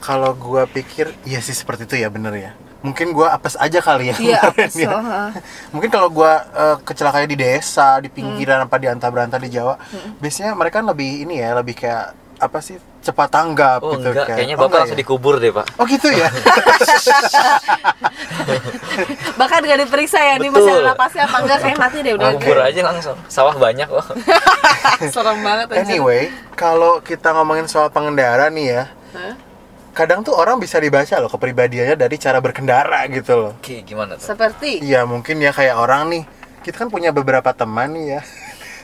Speaker 2: Kalau gua pikir iya sih seperti itu ya bener ya. Mungkin gua apes aja kali ya.
Speaker 3: iya
Speaker 2: *laughs* kemarin ya.
Speaker 3: so, ha.
Speaker 2: Mungkin kalau gua eh, kecelakaan di desa, di pinggiran apa di antar berantar di Jawa, biasanya mereka lebih ini ya, lebih kayak apa sih cepat tanggap
Speaker 1: Oh,
Speaker 2: gitu
Speaker 1: enggak,
Speaker 2: kayak-
Speaker 1: kayaknya
Speaker 2: Oh,
Speaker 1: Bapak
Speaker 2: enggak
Speaker 1: langsung
Speaker 2: ya?
Speaker 1: dikubur deh, Pak.
Speaker 2: Oh gitu
Speaker 1: *laughs*
Speaker 2: ya.
Speaker 3: bahkan gak diperiksa ya nih
Speaker 1: Betul.
Speaker 3: masalah napasnya apa enggak kayak mati deh udah Ah,
Speaker 1: Kubur aja langsung. Sawah banyak loh.
Speaker 3: *laughs* serem banget anjir.
Speaker 2: Anyway, kalau kita ngomongin soal pengendara nih ya,
Speaker 3: Hah?
Speaker 2: kadang tuh orang bisa dibaca loh kepribadiannya dari cara berkendara gitu loh.
Speaker 1: Oke, gimana tuh?
Speaker 3: seperti
Speaker 2: Iya mungkin ya kayak orang nih, kita kan punya beberapa teman nih ya.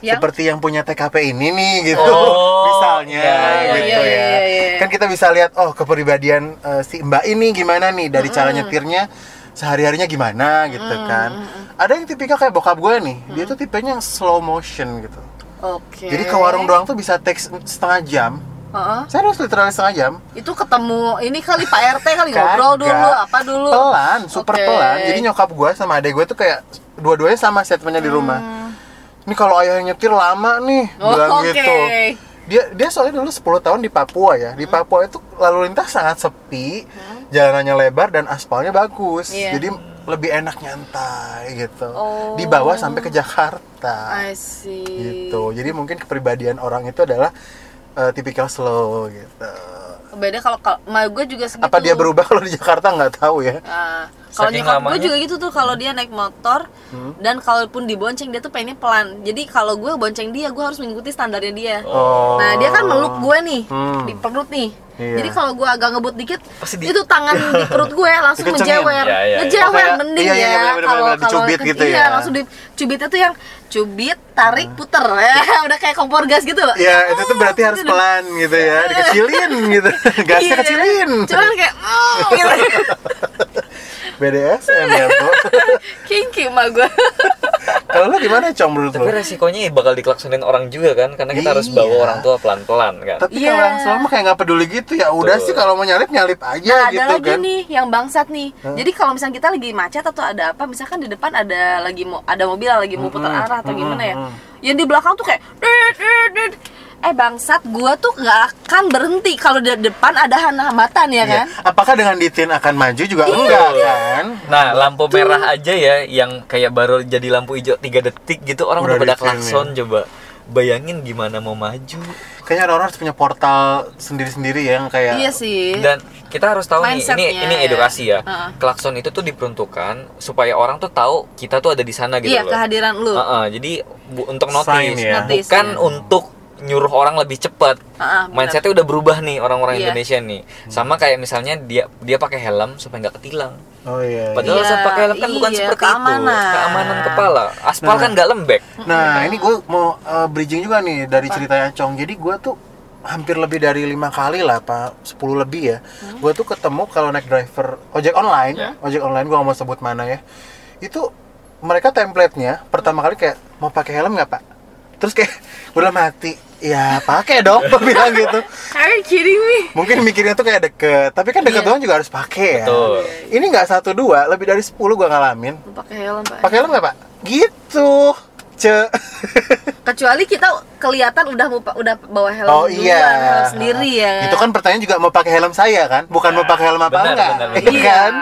Speaker 3: Yang?
Speaker 2: Seperti yang punya TKP ini nih gitu,
Speaker 1: Oh,
Speaker 2: misalnya
Speaker 1: iya, iya,
Speaker 2: gitu
Speaker 3: iya,
Speaker 2: ya.
Speaker 3: iya, iya.
Speaker 2: Kan kita bisa lihat oh kepribadian eh, si Mbak ini gimana nih dari cara nyetirnya sehari-harinya gimana gitu kan. Ada yang tipikal kayak bokap gue nih, dia tuh tipenya slow motion gitu.
Speaker 3: oke
Speaker 1: Iya,
Speaker 2: Jadi ke warung doang tuh bisa take setengah jam.
Speaker 3: Heeh.
Speaker 1: Ah.
Speaker 2: Saya harus literally setengah jam.
Speaker 3: itu ketemu ini kali Pak RT kali ngobrol
Speaker 2: Kagak.
Speaker 3: dulu apa dulu
Speaker 2: Kan? Pelan, super
Speaker 3: Oke.
Speaker 2: pelan. Jadi nyokap gue sama adek gue tuh kayak dua-duanya sama setnya di rumah. Ini kalau ayah nyetir lama nih,
Speaker 3: Hmm. Oh,
Speaker 2: bilang
Speaker 3: oke.
Speaker 2: gitu. Dia dia soalnya dulu 10 tahun di Papua ya.
Speaker 3: Hmm.
Speaker 2: Di Papua itu lalu lintas sangat sepi, jalanannya lebar dan aspalnya bagus.
Speaker 3: Iya.
Speaker 2: Jadi lebih enak nyantai gitu.
Speaker 3: Oh.
Speaker 2: Dibawa sampai ke Jakarta.
Speaker 3: I see
Speaker 2: Gitu. Jadi mungkin kepribadian orang itu adalah eh, tipikal slow gitu.
Speaker 3: beda kalau kalau emak gue juga segitu
Speaker 2: apa dia berubah *laughs* kalau di Jakarta nggak tahu ya
Speaker 3: Nah, kalau
Speaker 1: Saking
Speaker 3: nyokap gue
Speaker 1: lamanya.
Speaker 3: juga gitu tuh kalau dia naik motor
Speaker 2: Hmm.
Speaker 3: dan kalaupun dibonceng dia tuh pengennya pelan jadi kalau gue bonceng dia gue harus mengikuti standarnya dia
Speaker 2: oh
Speaker 3: Nah dia kan meluk gue nih
Speaker 2: Hmm.
Speaker 3: di perut nih.
Speaker 2: Iya.
Speaker 3: Jadi kalau gue agak ngebut dikit,
Speaker 1: Pasti di-
Speaker 3: itu tangan
Speaker 2: *laughs*
Speaker 3: di perut gue langsung
Speaker 2: Dikencengin.
Speaker 3: menjewer,
Speaker 1: Ya, ya, ya.
Speaker 3: ngejewer
Speaker 2: Oh, kayak-
Speaker 3: mending
Speaker 2: iya, iya,
Speaker 3: ya.
Speaker 2: bener-bener, bener-bener, dicubit
Speaker 3: ke-
Speaker 2: gitu
Speaker 3: iya,
Speaker 2: ya. Hmm.
Speaker 3: langsung dicubit itu yang cubit, tarik, puter, *laughs* ya, udah kayak kompor gas gitu loh.
Speaker 2: ya itu tuh berarti harus pelan gitu ya dikecilin gitu gasnya
Speaker 3: *laughs* Iya.
Speaker 2: kecilin
Speaker 3: Cuman kayak, "Mm," gitu.
Speaker 2: *laughs* BDSM ya
Speaker 3: *laughs*
Speaker 2: bro
Speaker 3: kinky mah gue.
Speaker 2: kalau lu gimana cong menurut lu
Speaker 1: Tapi resikonya ya bakal dikelaksonin orang juga kan karena kita harus bawa
Speaker 2: Iya.
Speaker 1: orang tua pelan-pelan kan.
Speaker 2: tapi
Speaker 3: Iya.
Speaker 2: kalau orang selama kayak nggak peduli gitu ya udah
Speaker 1: Betul.
Speaker 2: sih kalau mau nyalip nyalip aja
Speaker 3: Nah, ada
Speaker 2: gitu
Speaker 3: lagi
Speaker 2: kan
Speaker 3: nih yang bangsat nih. Jadi kalau misalnya kita lagi macet atau ada apa, misalkan di depan ada lagi mau ada mobil yang lagi mau putar arah atau gimana ya. Yang di belakang tuh kayak "Dit, dit, dit." eh bangsat, gua tuh nggak akan berhenti kalau di depan ada hambatan ya
Speaker 2: Iya.
Speaker 3: kan. Iya,
Speaker 2: apakah dengan ditin akan maju juga enggak kan
Speaker 1: Nah, lampu merah aja ya yang kayak baru jadi lampu hijau 3 detik gitu orang
Speaker 2: Udah ya.
Speaker 1: udah pada
Speaker 2: di sini.
Speaker 1: klakson coba. Bayangin gimana mau maju.
Speaker 2: kayaknya orang harus punya portal sendiri-sendiri ya, yang kayak
Speaker 3: iya sih
Speaker 1: dan kita harus tahu nih ini
Speaker 3: Mindsetnya,
Speaker 1: ini
Speaker 3: ya.
Speaker 1: edukasi ya
Speaker 3: Heeh.
Speaker 1: klakson itu tuh diperuntukkan supaya orang tuh tahu kita tuh ada di sana gitu
Speaker 3: iya
Speaker 1: loh
Speaker 3: kehadiran lu
Speaker 1: Heeh, jadi bu- untuk notice
Speaker 2: Sign ya.
Speaker 3: Notice,
Speaker 1: bukan
Speaker 3: ya.
Speaker 1: untuk nyuruh orang lebih cepat
Speaker 3: Ah, ah, benar.
Speaker 1: mindsetnya udah berubah nih orang-orang
Speaker 3: Iya.
Speaker 1: Indonesia nih sama kayak misalnya dia dia pakai helm supaya nggak ketilang
Speaker 2: oh iya. iya.
Speaker 1: padahal
Speaker 3: Iya,
Speaker 1: saya pakai helm kan bukan
Speaker 3: iya,
Speaker 1: seperti
Speaker 3: keamanan.
Speaker 1: itu keamanan kepala aspal
Speaker 2: Nah.
Speaker 1: kan nggak lembek
Speaker 2: Nah, ini gue mau eh, bridging juga nih dari ceritanya Cong. Jadi gue tuh hampir lebih dari lima kali lah, pak, 10 lebih ya. Gue tuh ketemu kalau naik driver ojek online, ojek online gue mau sebut mana ya. Itu mereka template-nya pertama kali kayak mau pakai helm nggak pak? Terus kayak udah mati, ya pakai dong, gua *laughs* bilang gitu.
Speaker 3: Are you kidding me?
Speaker 2: Mungkin mikirnya tuh kayak deket, tapi kan deket
Speaker 3: Iya.
Speaker 2: doang juga harus pakai ya.
Speaker 1: Betul.
Speaker 2: Ini nggak satu dua, lebih dari 10 gue ngalamin.
Speaker 3: Lu pakai helm pak
Speaker 2: Pakai helm nggak pak? Gitu, ce. *laughs*
Speaker 3: kecuali kita kelihatan udah mau udah bawa helm
Speaker 2: Oh
Speaker 3: duluan,
Speaker 2: iya.
Speaker 3: helm sendiri ya Iya.
Speaker 2: Itu kan pertanyaan juga mau pakai helm saya kan, bukan mau pakai helm apa
Speaker 1: benar,
Speaker 2: enggak.
Speaker 1: benar,
Speaker 2: Iya
Speaker 1: benar.
Speaker 2: kan?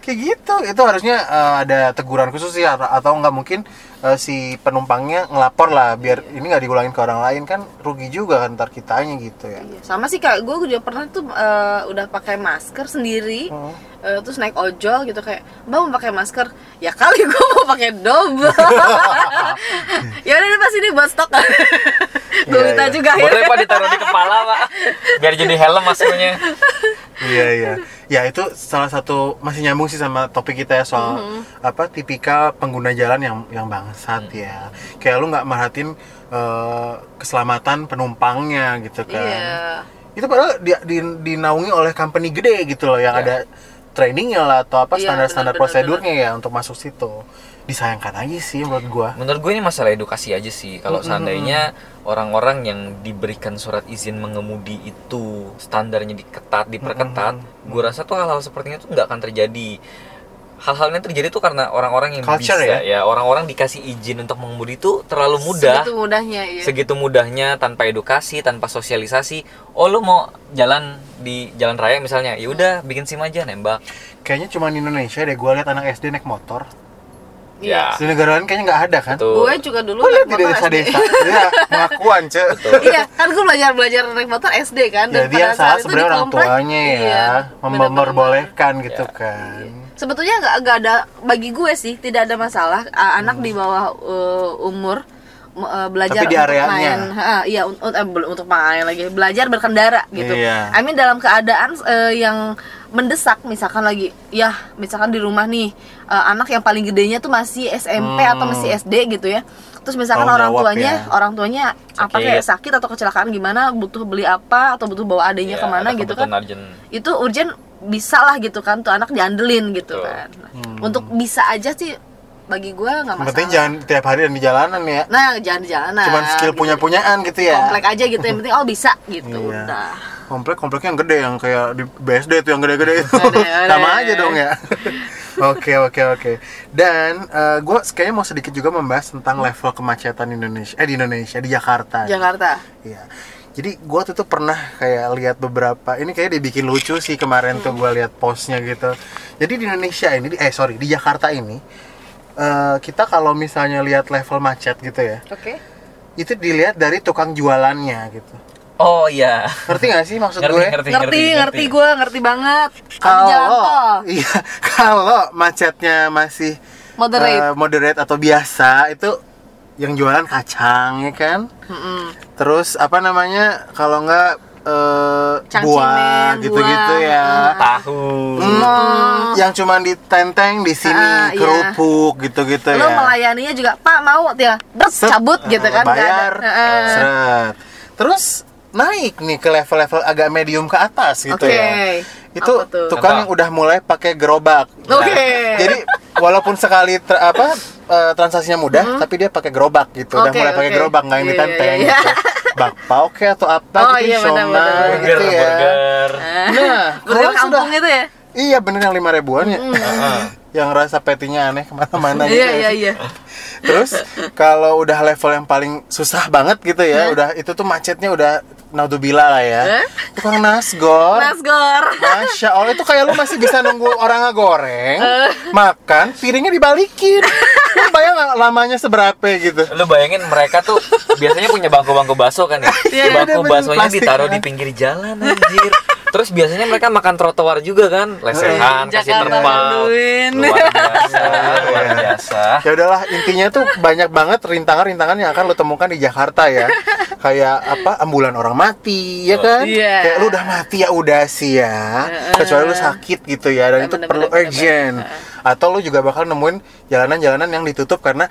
Speaker 2: Kayak gitu. Itu harusnya eh, ada teguran khusus ya atau- atau enggak mungkin eh, si penumpangnya ngelapor lah biar ini nggak diulangin ke orang lain kan rugi juga kan ntar kitanya gitu ya.
Speaker 3: Iya, sama sih kak gue juga pernah tuh eh, udah pakai masker sendiri
Speaker 2: Hmm.
Speaker 3: eh, terus naik ojol gitu kayak mbak mau pakai masker ya kali *laughs* gue mau pakai
Speaker 2: *laughs*
Speaker 3: double ya udah deh, pas ini buat stok
Speaker 2: *laughs*
Speaker 3: gue
Speaker 2: Iya,
Speaker 3: minta
Speaker 2: iya.
Speaker 3: juga ya.
Speaker 1: boleh pak ditaruh di kepala pak biar jadi helm masuknya
Speaker 2: Iya iya. Ya itu salah satu masih nyambung sih sama topik kita ya soal
Speaker 3: Mm-hmm.
Speaker 2: apa tipikal pengguna jalan yang yang bangsat ya. Kayak lu nggak merhatiin eh, keselamatan penumpangnya gitu kan.
Speaker 3: *laughs* iya
Speaker 2: itu padahal di, di- dinaungi oleh company gede gitu loh yang ada trainingnya lah atau apa
Speaker 3: Iya,
Speaker 2: standar-standar
Speaker 3: benar, benar,
Speaker 2: prosedurnya ya untuk masuk situ disayangkan aja sih menurut gua
Speaker 1: menurut gue ini masalah edukasi aja sih kalau seandainya orang-orang yang diberikan surat izin mengemudi itu standarnya diketat diperketat gue rasa tuh hal-hal sepertinya tuh nggak akan terjadi hal-hal yang terjadi tuh karena orang-orang yang
Speaker 2: Culture
Speaker 1: bisa ya orang-orang dikasih izin untuk mengemudi itu terlalu mudah
Speaker 3: segitu mudahnya iya
Speaker 1: segitu mudahnya tanpa edukasi tanpa sosialisasi oh lu mau jalan di jalan raya misalnya ya udah bikin sim aja nembak
Speaker 2: kayaknya cuma di Indonesia deh gua lihat anak SD naik motor
Speaker 1: ya
Speaker 2: di negara lain kayaknya nggak ada kan
Speaker 1: tuh
Speaker 3: gue Iya. juga dulu
Speaker 2: gua lihat
Speaker 3: naik
Speaker 2: di
Speaker 3: motor SD
Speaker 2: desa-desa ya pengakuan ce
Speaker 3: *laughs* iya kan gue belajar belajar naik motor SD kan
Speaker 2: ya
Speaker 3: pada
Speaker 2: dia yang salah
Speaker 3: saat itu
Speaker 2: sebenarnya
Speaker 3: di
Speaker 2: orang
Speaker 3: komplek,
Speaker 2: tuanya
Speaker 3: iya,
Speaker 2: ya mem-
Speaker 3: bener-bener.
Speaker 2: memperbolehkan gitu kan
Speaker 3: sebetulnya nggak nggak ada bagi gue sih tidak ada masalah a- anak di bawah uh, umur m- uh, belajar
Speaker 2: Hmm. Tapi di
Speaker 3: untuk
Speaker 2: areanya.
Speaker 3: main Ha, iya un- un- eh, belum untuk main lagi belajar berkendara gitu
Speaker 2: Iya.
Speaker 3: I mean dalam keadaan eh, yang mendesak misalkan lagi ya misalkan di rumah nih eh, anak yang paling gedenya tuh masih SMP atau masih SD gitu ya terus misalkan
Speaker 2: Tanggung
Speaker 3: orang
Speaker 2: Hmm. jawab
Speaker 3: tuanya
Speaker 2: ya.
Speaker 3: orang tuanya apa
Speaker 1: Sakit.
Speaker 3: kayak sakit atau kecelakaan gimana butuh beli apa atau butuh bawa adanya
Speaker 2: Iya,
Speaker 1: Ya,
Speaker 3: kemana
Speaker 1: ada
Speaker 3: gitu kan
Speaker 1: kebutuhan urgent.
Speaker 3: itu urgent bisa lah gitu kan tuh anak diandelin gitu
Speaker 1: Betul.
Speaker 3: kan untuk bisa aja sih bagi gue nggak
Speaker 2: yang
Speaker 3: masalah
Speaker 2: penting jangan tiap hari dan di jalanan ya
Speaker 3: nah jangan di jalanan
Speaker 2: cuman skill
Speaker 3: gitu.
Speaker 2: punya-punyaan gitu ya
Speaker 3: komplek aja gitu yang penting oh bisa gitu
Speaker 2: Iya.
Speaker 3: udah
Speaker 2: komplek kompleknya yang gede yang kayak di BSD itu yang gede-gede itu *laughs*
Speaker 3: Gede, gede.
Speaker 2: sama aja dong
Speaker 3: *laughs*
Speaker 2: ya oke oke oke dan gue kayaknya mau sedikit juga membahas tentang level kemacetan Indonesia eh di Indonesia di Jakarta
Speaker 3: Jakarta
Speaker 2: Iya. Jadi gua tuh, tuh pernah kayak lihat beberapa ini kayak dibikin lucu sih kemarin tuh gua lihat postnya gitu. Jadi di Indonesia ini di- eh sorry di Jakarta ini eh, kita kalau misalnya lihat level macet gitu ya
Speaker 3: oke
Speaker 2: itu dilihat dari tukang jualannya gitu.
Speaker 1: oh iya
Speaker 2: Ngerti gak sih maksud
Speaker 1: ngerti,
Speaker 2: gue?
Speaker 1: ngerti
Speaker 3: ngerti ngerti, gue ngerti banget kalau jalan tol
Speaker 2: kalau iya *laughs* kalau macetnya masih
Speaker 3: moderate
Speaker 2: eh, moderate atau biasa itu yang jualan kacang ya kan
Speaker 3: Mm-mm.
Speaker 2: terus apa namanya kalau nggak eh,
Speaker 3: Cangcimen,
Speaker 2: buah gitu-gitu
Speaker 3: buah.
Speaker 2: ya
Speaker 1: tahu
Speaker 3: Mm.
Speaker 2: Hmm, yang cuman ditenteng di sini
Speaker 3: Ah, iya.
Speaker 2: kerupuk gitu-gitu
Speaker 3: lo
Speaker 2: ya
Speaker 3: melayaninya juga pak mau dia terus
Speaker 2: Set,
Speaker 3: cabut gitu
Speaker 2: eh,
Speaker 3: kan nggak ada.
Speaker 2: bayar
Speaker 3: Heeh.
Speaker 2: seret. terus naik nih ke level-level agak medium ke atas gitu
Speaker 3: Oke.
Speaker 2: ya itu
Speaker 3: Apa tuh?
Speaker 2: tukang
Speaker 1: Apa?
Speaker 2: yang udah mulai pakai gerobak Nah,
Speaker 3: Oke.
Speaker 2: jadi walaupun sekali ter- apa eh, transaksinya mudah tapi dia pakai gerobak gitu udah
Speaker 3: Hmm? Oke,
Speaker 2: mulai pakai
Speaker 3: oke.
Speaker 2: gerobak nggak yang
Speaker 3: Iya, iya,
Speaker 2: ditenteng
Speaker 3: iya.
Speaker 2: gitu bakpao oke atau apa
Speaker 3: Oh,
Speaker 2: gitu
Speaker 3: iya, benar,
Speaker 2: somai
Speaker 3: benar, benar.
Speaker 1: burger
Speaker 2: gitu ya
Speaker 1: burger
Speaker 3: *laughs*
Speaker 2: nah
Speaker 3: Berdua
Speaker 2: kalau sudah
Speaker 3: kampung itu ya
Speaker 2: iya bener yang lima ribuan ya
Speaker 1: Heeh.
Speaker 2: yang rasa petinya aneh kemana-mana gitu
Speaker 3: iya
Speaker 2: ya.
Speaker 3: iya iya
Speaker 2: terus kalau udah level yang paling susah banget gitu ya udah itu tuh macetnya udah naudzubillah lah ya
Speaker 3: Hah?
Speaker 2: tukang nasgor
Speaker 3: Nasgor
Speaker 2: Masya Allah itu kayak lu masih bisa nunggu orang goreng, makan, piringnya dibalikin. lu bayang nggak lamanya seberapa gitu
Speaker 1: lu bayangin mereka tuh biasanya punya bangku-bangku bakso kan ya
Speaker 2: Iya, iya,
Speaker 1: bangku
Speaker 2: bener,
Speaker 1: baksonya
Speaker 2: plastik,
Speaker 1: ditaruh
Speaker 2: kan?
Speaker 1: di pinggir jalan anjir terus biasanya mereka makan trotoar juga kan
Speaker 2: Eh,
Speaker 1: lesehan kasih
Speaker 3: Jakarta
Speaker 1: terpal
Speaker 3: bantuin.
Speaker 1: luar biasa luar
Speaker 2: Iya.
Speaker 1: biasa
Speaker 2: ya udahlah intinya tuh banyak banget rintangan-rintangan yang akan lo temukan di Jakarta ya kayak apa ambulan orang mati ya kan
Speaker 3: Iya.
Speaker 2: kayak lu udah mati ya udah sih ya kecuali lu sakit gitu ya dan itu
Speaker 3: Bener-bener,
Speaker 2: perlu
Speaker 3: bener-bener.
Speaker 2: urgent atau lu juga bakal nemuin jalanan-jalanan yang ditutup karena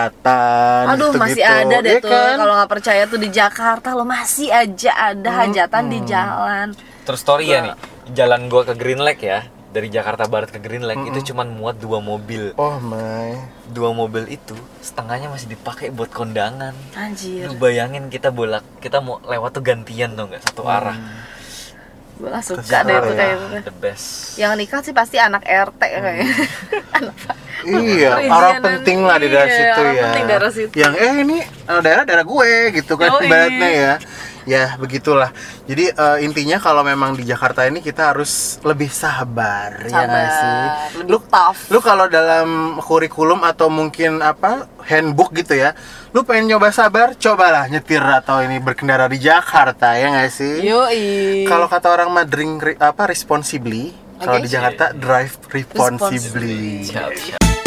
Speaker 2: hajatan
Speaker 3: Aduh
Speaker 2: Kan gitu-gitu.
Speaker 3: masih ada deh
Speaker 2: Iya
Speaker 3: tuh
Speaker 2: kan?
Speaker 3: kalau nggak percaya tuh di Jakarta lo masih aja ada hajatan di jalan.
Speaker 1: terus story
Speaker 2: Iya.
Speaker 1: ya nih jalan gua ke Green Lake ya dari Jakarta Barat ke Green Lake itu cuman muat dua mobil
Speaker 2: oh my
Speaker 1: dua mobil itu setengahnya masih dipakai buat kondangan
Speaker 3: Anjir,
Speaker 2: Iya.
Speaker 1: lu bayangin kita bolak kita mau lewat tuh gantian tuh nggak
Speaker 2: Hmm.
Speaker 1: satu arah
Speaker 3: gue lah suka deh itu
Speaker 2: Kesel ya.
Speaker 3: kayak gitu.
Speaker 1: the best
Speaker 3: Yang nikah sih pasti anak RT
Speaker 2: Hmm,
Speaker 3: kayaknya. anak
Speaker 2: Iya,
Speaker 3: Perizinan,
Speaker 2: orang penting lah di daerah
Speaker 3: iya,
Speaker 2: situ
Speaker 3: orang
Speaker 2: ya.
Speaker 3: penting daerah situ.
Speaker 2: Yang eh ini eh, daerah daerah gue gitu kan
Speaker 3: Yoi.
Speaker 2: ibaratnya ya. Ya begitulah. Jadi eh, intinya kalau memang di Jakarta ini kita harus lebih sabar, ya
Speaker 3: Sabar,
Speaker 2: nggak sih.
Speaker 3: lebih tough.
Speaker 2: Lu kalau dalam kurikulum atau mungkin apa handbook gitu ya, lu pengen nyoba sabar, cobalah nyetir atau ini berkendara di Jakarta ya nggak sih.
Speaker 3: Yoi.
Speaker 2: Kalau kata orang mah drink re- apa responsibly. Kalau
Speaker 3: Oke.
Speaker 2: di Jakarta drive responsibly.
Speaker 1: Siap, siap.